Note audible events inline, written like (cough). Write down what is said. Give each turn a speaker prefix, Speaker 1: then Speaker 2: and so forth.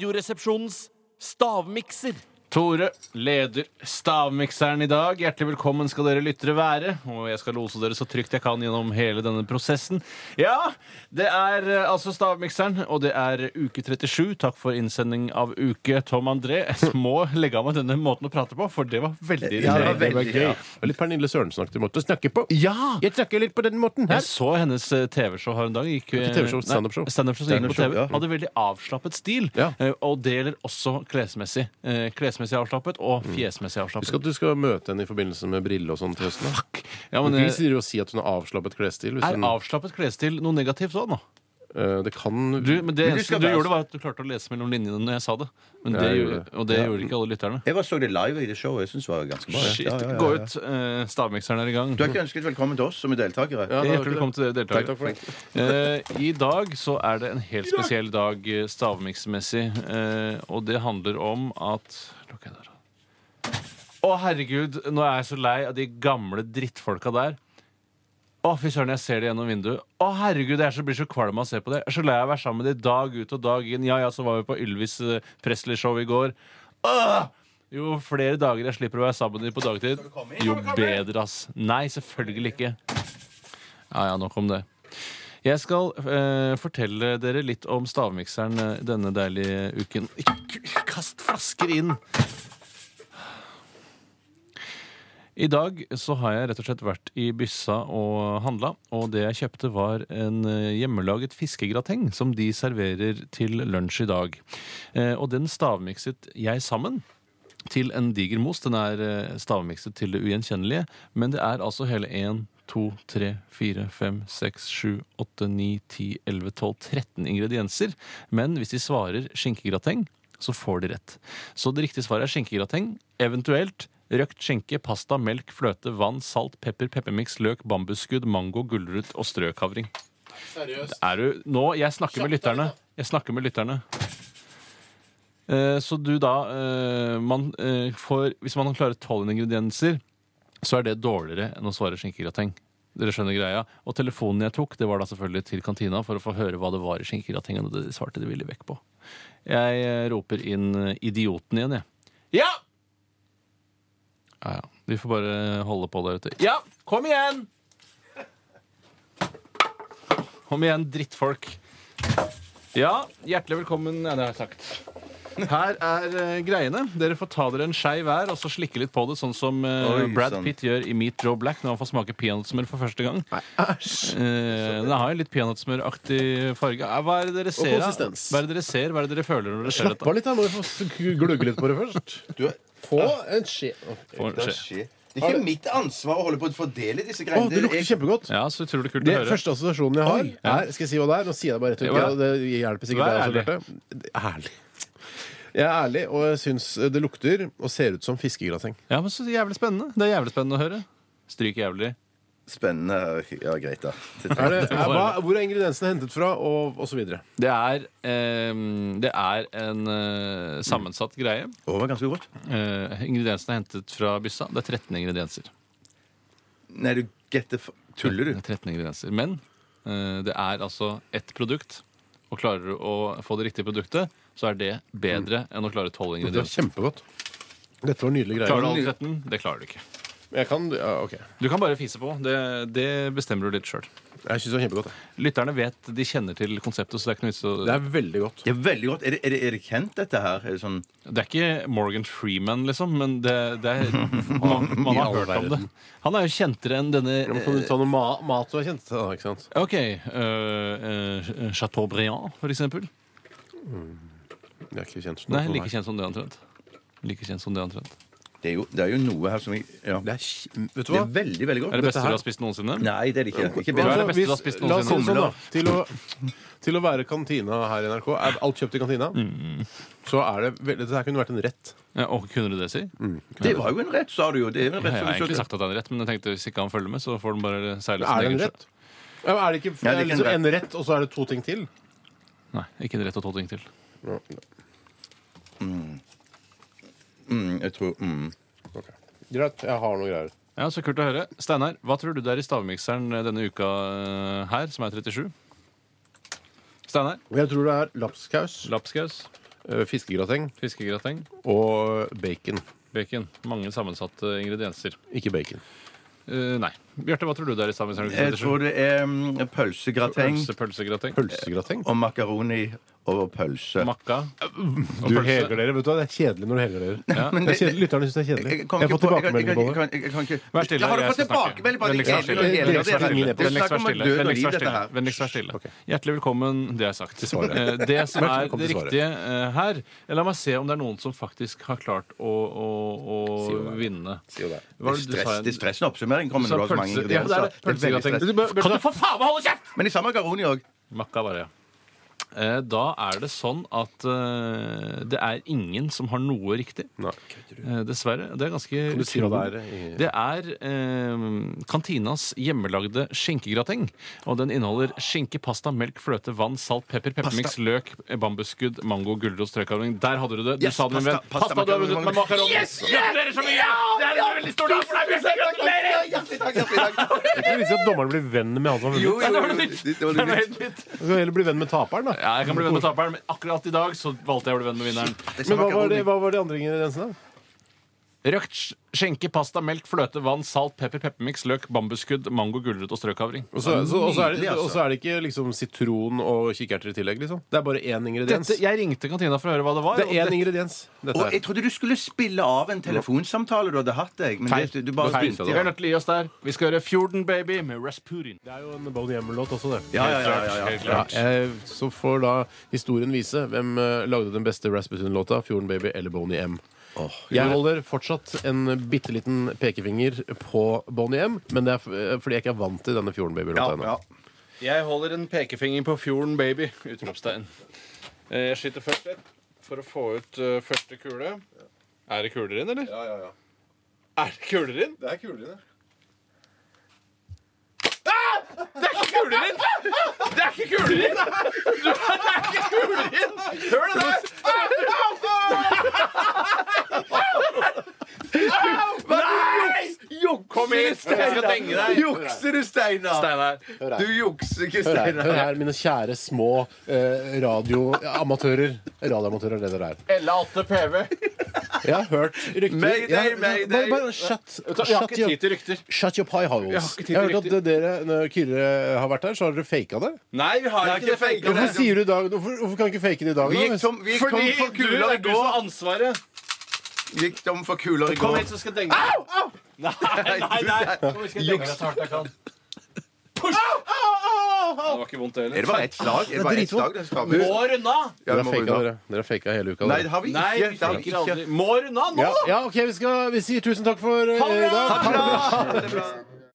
Speaker 1: Radioresepsjonens stavmikser.
Speaker 2: Tore, leder Stavmikseren i dag. Hjertelig velkommen skal dere lyttere være. Og jeg skal lose dere så trygt jeg kan gjennom hele denne prosessen. Ja, det er eh, altså Stavmikseren, og det er uke 37. Takk for innsending av uke. Tom André, jeg må legge av meg denne måten å prate på, for det var veldig
Speaker 3: Ja, det var
Speaker 2: irriterende.
Speaker 3: veldig gøy. Og litt Pernille Sørensen-aktig måte å snakke på.
Speaker 2: Ja!
Speaker 3: Jeg snakker litt på den måten
Speaker 2: Jeg
Speaker 3: her.
Speaker 2: så hennes eh, TV-show her en dag. Gikk, eh,
Speaker 3: Ikke TV-show,
Speaker 2: nei,
Speaker 3: standup-show.
Speaker 2: Standup-show som gikk på
Speaker 3: Standup-show,
Speaker 2: TV.
Speaker 3: ja.
Speaker 2: Hadde veldig avslappet stil.
Speaker 3: Ja.
Speaker 2: eh, Og det gjelder også klesmessig. Eh, Klesmessig avslappet og fjesmessig avslappet.
Speaker 3: Husk at du Mm. skal møte henne i forbindelse med brille og sånn til høsten. da.
Speaker 2: Ja,
Speaker 3: Du
Speaker 2: men,
Speaker 3: kan
Speaker 2: eh,
Speaker 3: ikke si- si at hun har avslappet klesstil. Hvis
Speaker 2: Er
Speaker 3: hun,
Speaker 2: avslappet klesstil noe negativt òg nå?
Speaker 3: eh, det kan
Speaker 2: Du, men det
Speaker 4: Men du
Speaker 2: eneste
Speaker 4: skal
Speaker 2: du
Speaker 4: være-
Speaker 2: gjorde, var at du klarte å lese mellom linjene når jeg sa det. Men
Speaker 3: Ja,
Speaker 2: det
Speaker 3: jeg
Speaker 2: gjorde,
Speaker 3: gjorde det.
Speaker 2: og det gjorde ikke alle lytterne.
Speaker 4: Jeg bare så det live i det showet. Jeg synes det var ganske bra. ja.
Speaker 2: Shit,
Speaker 4: Ja, ja, ja, ja.
Speaker 2: Gå ut. Eh, Stavmikseren er i gang.
Speaker 4: Du har ikke ønsket velkommen til oss som er
Speaker 3: Ja,
Speaker 4: deltakere.
Speaker 3: det var ikke
Speaker 2: Hjertelig velkommen til dere
Speaker 3: Takk, takk
Speaker 2: deltakere.
Speaker 3: for det.
Speaker 2: Eh, I dag så er det en helt spesiell dag eh, stavmiksmessig, eh, og det handler om at Lukk jeg der. Å, herregud, nå er jeg så lei av de gamle drittfolka der. Å, fy søren, jeg ser det gjennom vinduet. Å, herregud, jeg er så, blir så kvalm av å se på det. Jeg er så lei av å være sammen med det dag ut og dag inn. Ja, ja, så var vi på Ylvis eh, Presley-show i går. Åh! Jo flere dager jeg slipper å være sammen med dem på dagtid, jo bedre, ass. Nei, selvfølgelig ikke. Ja, ja, nok om det. Jeg skal eh, fortelle dere litt om stavmikseren eh, denne deilige uken. Ikke- Kast flasker inn! I dag så har jeg rett og slett vært i byssa og handla, og det jeg kjøpte var en eh, hjemmelaget fiskegrateng som de serverer til lunsj i dag. Eh, Og den stavmikset jeg sammen til en diger mos. Den er eh, stavmikset til det ugjenkjennelige, men det er altså hele 1, 2, 3, 4, 5, 6, 7, 8, 9, 10, 11, 12, 13 ingredienser. Men hvis de svarer skinkegrateng, så får de rett. Så det riktige svaret er skinkegrateng, eventuelt Røkt skinke, pasta, melk, fløte, vann, salt, pepper, peppermiks, løk, bambusskudd, mango, gulrot og strøkavring.
Speaker 3: Seriøst.
Speaker 2: Er du Nå, jeg snakker med lytterne. Jeg snakker med lytterne. Eh, Så du da eh, man eh, får, Hvis man klarer tolv ingredienser, så er det dårligere enn å svare skinkegrateng. Dere skjønner greia. Og telefonen jeg tok, det var da selvfølgelig til kantina for å få høre hva det var i skinkegratengen, og det svarte de ville vekk på. Jeg eh, roper inn eh, idioten igjen, jeg. Ja! Ja, ja. Vi får bare holde på der ute. Ja, kom igjen! Kom igjen, drittfolk. Ja, hjertelig velkommen. Ja, det har jeg sagt. Her er eh, greiene. Dere får ta dere en skei hver og så slikke litt på det, sånn som eh,
Speaker 4: Oi,
Speaker 2: Brad
Speaker 4: sann.
Speaker 2: Pitt gjør i Meet Joe Black når han får smake peanøttsmør for første gang. Eh, den har jo litt peanøttsmøraktig farge. Eh, Hva er det dere ser? da?
Speaker 3: konsistens.
Speaker 2: Hva er det dere ser? Hva er det dere føler når dere ser
Speaker 3: Slapp
Speaker 2: dette?
Speaker 3: av litt, da. Må du få glugge litt på det først.
Speaker 4: (laughs) Du er-
Speaker 3: Få en skje. Å,
Speaker 2: Får
Speaker 4: Det er
Speaker 2: se.
Speaker 4: shit. Det er ikke mitt ansvar å holde på å fordele disse greiene.
Speaker 3: det lukter
Speaker 4: Jeg-
Speaker 3: kjempegodt.
Speaker 2: Ja, så utrolig kult
Speaker 3: Det
Speaker 2: å høre.
Speaker 3: første assosiasjonen jeg har, er Skal jeg si hva det er? Nå sier jeg det bare rett ut.
Speaker 2: Ja.
Speaker 3: Ja, det hjelper sikkert
Speaker 2: Vær
Speaker 3: deg også, Bjarte. Ærlig. Jeg er ærlig, og jeg syns det lukter og ser ut som fiskegrateng.
Speaker 2: Ja, men så jævlig spennende. Det er jævlig spennende å høre. Stryk jævlig.
Speaker 4: Spennende. Ja, greit, da.
Speaker 3: Er det, er, hva, hvor er ingrediensene hentet fra, og, og så videre?
Speaker 2: Det er, ehm, det er en eh, sammensatt greie.
Speaker 4: Å, det var ganske godt.
Speaker 2: Eh, ingrediensene er hentet fra byssa. Det er 13 ingredienser.
Speaker 4: Nei, du getter f- Tuller
Speaker 2: Det
Speaker 4: du?
Speaker 2: er 13 ingredienser. Men eh, det er altså ett produkt. Og klarer du å få det riktige produktet, så er det bedre enn å klare 12
Speaker 3: Det var
Speaker 2: ingredienser.
Speaker 3: kjempegodt. Dette var nydelige greier.
Speaker 2: Klarer du alle 13? Det klarer du ikke.
Speaker 3: Jeg kan, ja, ok.
Speaker 2: Du kan bare fise på. Det, det bestemmer du litt sjøl.
Speaker 3: Jeg syns det var kjempegodt. jeg.
Speaker 2: Lytterne vet, de kjenner til konseptet, så det er ikke noe vits å
Speaker 3: Det er veldig godt.
Speaker 4: Det er veldig godt. Er det, er det, er det kjent, dette her? Er det sånn
Speaker 2: Det er ikke Morgan Freeman, liksom, men det, det
Speaker 3: (laughs)
Speaker 2: er, man, man
Speaker 3: I
Speaker 2: har
Speaker 3: all
Speaker 2: hørt om det.
Speaker 3: verden.
Speaker 2: Han er jo kjentere enn denne
Speaker 3: Nå Kan du ta noe ma mat du har kjent? Da, ikke sant?
Speaker 2: eh, OK. Uh, Chateaubriand, for eksempel.
Speaker 3: Jeg er ikke kjent som noe
Speaker 2: Nei,
Speaker 3: for
Speaker 2: like
Speaker 3: meg.
Speaker 2: kjent som det, omtrent. Like kjent som det, omtrent.
Speaker 4: det er, jo, det er jo noe her som jeg ja.
Speaker 3: Det er, kj- vet du
Speaker 4: Det
Speaker 3: hva?
Speaker 4: er veldig, veldig
Speaker 2: Er
Speaker 4: godt.
Speaker 2: det beste
Speaker 3: her-
Speaker 2: du har spist noensinne?
Speaker 4: Nei, det er det ikke. ikke
Speaker 2: Hva er
Speaker 4: bedre.
Speaker 2: det beste du har spist
Speaker 3: la oss si det
Speaker 4: noensinne?
Speaker 3: sånn, da. Til å, til å være kantina her i NRK, er alt kjøpt i kantina,
Speaker 2: Mm.
Speaker 3: så er det veldig Dette her kunne vært en rett.
Speaker 2: Ja, og kunne du det si?
Speaker 3: Mm.
Speaker 4: Det var jo en rett, sa du jo. Det er jo en
Speaker 2: Jeg
Speaker 4: rett
Speaker 2: har
Speaker 4: som du
Speaker 2: egentlig
Speaker 4: kjøpte.
Speaker 2: sagt at det er en rett, men jeg tenkte hvis ikke han følger med, så får den bare seile
Speaker 3: Er det
Speaker 2: egen
Speaker 3: en
Speaker 2: sjø.
Speaker 3: rett? Ja, men er det ikke
Speaker 4: Ja,
Speaker 3: det er liksom en rett, og så er det to ting til?
Speaker 2: Nei, ikke en rett og to ting til.
Speaker 4: Mm, jeg tror mm.
Speaker 3: Ok. Greit, jeg har noe greier.
Speaker 2: Ja, Så kult å høre. Steinar, hva tror du det er i stavmikseren denne uka eh, her, som er 37? Steinar?
Speaker 3: Jeg tror det er lapskaus.
Speaker 2: Lapskaus.
Speaker 3: eh, fiskegrateng
Speaker 2: Fiskegrateng,
Speaker 3: og bacon.
Speaker 2: bacon. Mange sammensatte ingredienser.
Speaker 3: Ikke bacon.
Speaker 2: Eh, nei. Bjarte, hva tror du det er i
Speaker 4: Jeg tror
Speaker 2: sammenheng?
Speaker 4: det er mm, pølsegrateng
Speaker 2: Pølse, pølsegrateng.
Speaker 3: Pølsegrateng?
Speaker 4: og makaroni over pølse.
Speaker 2: Makka.
Speaker 3: Du heger dere. vet du hva? Det er kjedelig når du heger dere.
Speaker 2: Ja.
Speaker 4: Men
Speaker 3: Det er
Speaker 4: det-
Speaker 3: kjedelig, Lytterne syns det er kjedelig.
Speaker 4: Jeg kom
Speaker 3: Jeg får
Speaker 4: ikke på- jeg kan-
Speaker 3: tilbakemelding på
Speaker 4: jeg
Speaker 3: det.
Speaker 4: kan- jeg kan- jeg kan ikke-
Speaker 2: Vær stille,
Speaker 4: Ja, Har du
Speaker 2: jeg
Speaker 4: fått
Speaker 2: skal snakke.
Speaker 4: tilbakemelding på det?
Speaker 2: Vennligst vær stille.
Speaker 4: Det er
Speaker 3: Vennligst vær stille.
Speaker 4: helvete. Det er
Speaker 2: Vennligst
Speaker 4: snakk
Speaker 2: vær
Speaker 4: om
Speaker 2: stille.
Speaker 4: død og
Speaker 2: Vennligst
Speaker 4: liv,
Speaker 2: vær
Speaker 4: dette her.
Speaker 2: stille. Vennligst vær stille. Hjertelig velkommen, det er sagt.
Speaker 3: svaret.
Speaker 2: Eh, Det som er
Speaker 3: Velkommen
Speaker 2: det
Speaker 3: til svaret.
Speaker 2: riktige eh, her La meg se om det er noen som faktisk har klart å, å, å vinne. Hva
Speaker 4: Det
Speaker 2: var
Speaker 4: er
Speaker 2: det du
Speaker 4: stress,
Speaker 2: sa?
Speaker 4: det er stressende oppsummering. Kommer
Speaker 2: Du sa
Speaker 4: når du har så mange
Speaker 2: pølse- ja, det er det.
Speaker 4: ingredienser. Det er veldig
Speaker 2: Pølsegrateng.
Speaker 4: stress.
Speaker 2: Kan du for faen meg holde kjeft?!
Speaker 4: Men de sa makaroni òg.
Speaker 2: Makka bare, ja. Eh, Da er det sånn at eh, det er ingen som har noe riktig.
Speaker 3: Nei.
Speaker 2: Eh, Dessverre. Det er ganske
Speaker 3: Kan du si hva
Speaker 2: utrolig.
Speaker 3: det er i-
Speaker 2: Det er eh, kantinas hjemmelagde skinkegrateng. Og den inneholder skinke, pasta, melk, fløte, vann, salt, pepper, peppermiks, løk, bambusskudd, mango, gulrot, strøkavling. Der hadde du det! Du
Speaker 4: Yes,
Speaker 2: sa det, min
Speaker 4: pasta,
Speaker 2: venn.
Speaker 4: pasta,
Speaker 2: Pasta, du har vunnet med
Speaker 4: makaroni.
Speaker 2: makaron. Gratulerer så mye! Det er en veldig stor dag for deg! Bjørn. Gratulerer!
Speaker 4: Hjertelig takk, hjertelig takk.
Speaker 3: Det viser at dommeren blir venn med han som har
Speaker 4: Jo,
Speaker 3: vunnet.
Speaker 4: jo,
Speaker 2: Det
Speaker 4: jo,
Speaker 2: var det nytt.
Speaker 4: det var
Speaker 2: Det var
Speaker 4: det nytt.
Speaker 2: helt nytt.
Speaker 3: Du kan heller bli venn med taperen, da.
Speaker 2: Ja, jeg kan bli venn med taperen, men akkurat i dag så valgte jeg å bli venn med vinneren.
Speaker 4: Det sa
Speaker 3: Men hva var,
Speaker 4: makaroni.
Speaker 3: det, hva var de andre ingrediensene?
Speaker 2: Røkt sk- skjenke, pasta, melk, fløte, vann, salt, pepper, peppermiks, løk, bambusskudd, mango, gulrøtt og strøkavring.
Speaker 3: Og så så- og så er, det-
Speaker 4: Nydelig, altså.
Speaker 3: og så er det ikke liksom sitron og kikerter i tillegg, liksom? Det er bare én ingrediens.
Speaker 2: Dette, jeg ringte kantina for å høre hva det var.
Speaker 3: Det er én ingrediens. Dette
Speaker 4: Og
Speaker 3: her.
Speaker 4: jeg trodde du skulle spille av en telefonsamtale du hadde hatt, jeg. Men
Speaker 2: Feil.
Speaker 4: det, du bare
Speaker 2: Feil.
Speaker 4: begynte.
Speaker 2: Vi er nødt til å gi oss der. Vi skal høre Fjorden Baby med Rasputin.
Speaker 3: Det er jo en Boney Hjemmel-låt også, det.
Speaker 4: Ja, ja, ja, ja, ja.
Speaker 2: Helt
Speaker 3: Ja,
Speaker 2: klart.
Speaker 3: eh, så får da historien vise hvem eh, lagde den beste Rasputin-låta, Fjorden Baby eller Boney M. jeg holder fortsatt en bitte liten pekefinger på Boney M, men det er f eh, fordi jeg ikke er vant til denne Fjorden Baby-låta
Speaker 4: Ja,
Speaker 3: ennå.
Speaker 4: ja.
Speaker 2: Jeg holder en pekefinger på Fjorden Baby. Utropstegn. Eh, Jeg skyter først et for å få ut eh, første kule. Er det kuler inn, eller?
Speaker 4: ja, ja.
Speaker 2: Er det kuler inn?
Speaker 4: Det er kulere.
Speaker 2: kuler inn! Det er ikke kuler inn! Du- Det er ikke kuler inn! Hør det der! Nei! Kom hit! Jeg skal denge deg.
Speaker 4: Jukser du, Steinar?
Speaker 2: Steinar.
Speaker 4: Du jukser ikke,
Speaker 3: Hør her, hør
Speaker 4: Steinar.
Speaker 3: her, mine kjære små eh, radioamatører. Radioamatører, det dere er.
Speaker 2: Ella 8 PV.
Speaker 3: Jeg har hørt rykter
Speaker 4: Mayday,
Speaker 3: Jeg har- Bare,
Speaker 4: mayday.
Speaker 3: bare shut,
Speaker 2: Jeg har ikke
Speaker 3: your-
Speaker 2: tid til rykter.
Speaker 3: shut your pie holes.
Speaker 2: Jeg har ikke tid
Speaker 3: Jeg har
Speaker 2: til
Speaker 3: hørt at dere, når Kyrre har vært her, så har dere faka det.
Speaker 2: Nei, vi har
Speaker 4: ikke det fake.
Speaker 3: Hvorfor sier du i dag Hvorfor, hvorfor kan du ikke fake det i dag?
Speaker 4: Vi
Speaker 3: da?
Speaker 4: gikk tom, vi gikk tom
Speaker 2: Fordi
Speaker 4: for
Speaker 2: du
Speaker 4: kuler
Speaker 2: er
Speaker 4: i
Speaker 2: du som har
Speaker 4: går.
Speaker 2: ansvaret.
Speaker 4: Vi Gikk tom for kuler i
Speaker 2: Kom
Speaker 4: går.
Speaker 2: hit, så skal jeg denge deg. Nei, nei, nei. Kom, vi skal denge deg så hardt jeg kan. Push! Det var ikke vondt, det
Speaker 4: Er det
Speaker 2: heller.
Speaker 4: bare ett slag? Er det bare ett slag? den skal med?
Speaker 2: Må runde av!
Speaker 4: Ja,
Speaker 3: Dere
Speaker 4: vi
Speaker 3: har
Speaker 4: må
Speaker 3: faka
Speaker 4: runde av.
Speaker 3: dere. Dere har faka hele uka.
Speaker 4: Nei, det
Speaker 3: dere.
Speaker 4: har vi
Speaker 2: Nei,
Speaker 4: ikke.
Speaker 2: vi
Speaker 4: Det har vi
Speaker 2: faker
Speaker 4: ikke.
Speaker 2: aldri. Må runde av nå!
Speaker 3: ja, ja, OK, vi, skal, vi sier tusen takk for eh, i dag.
Speaker 4: Ha det bra!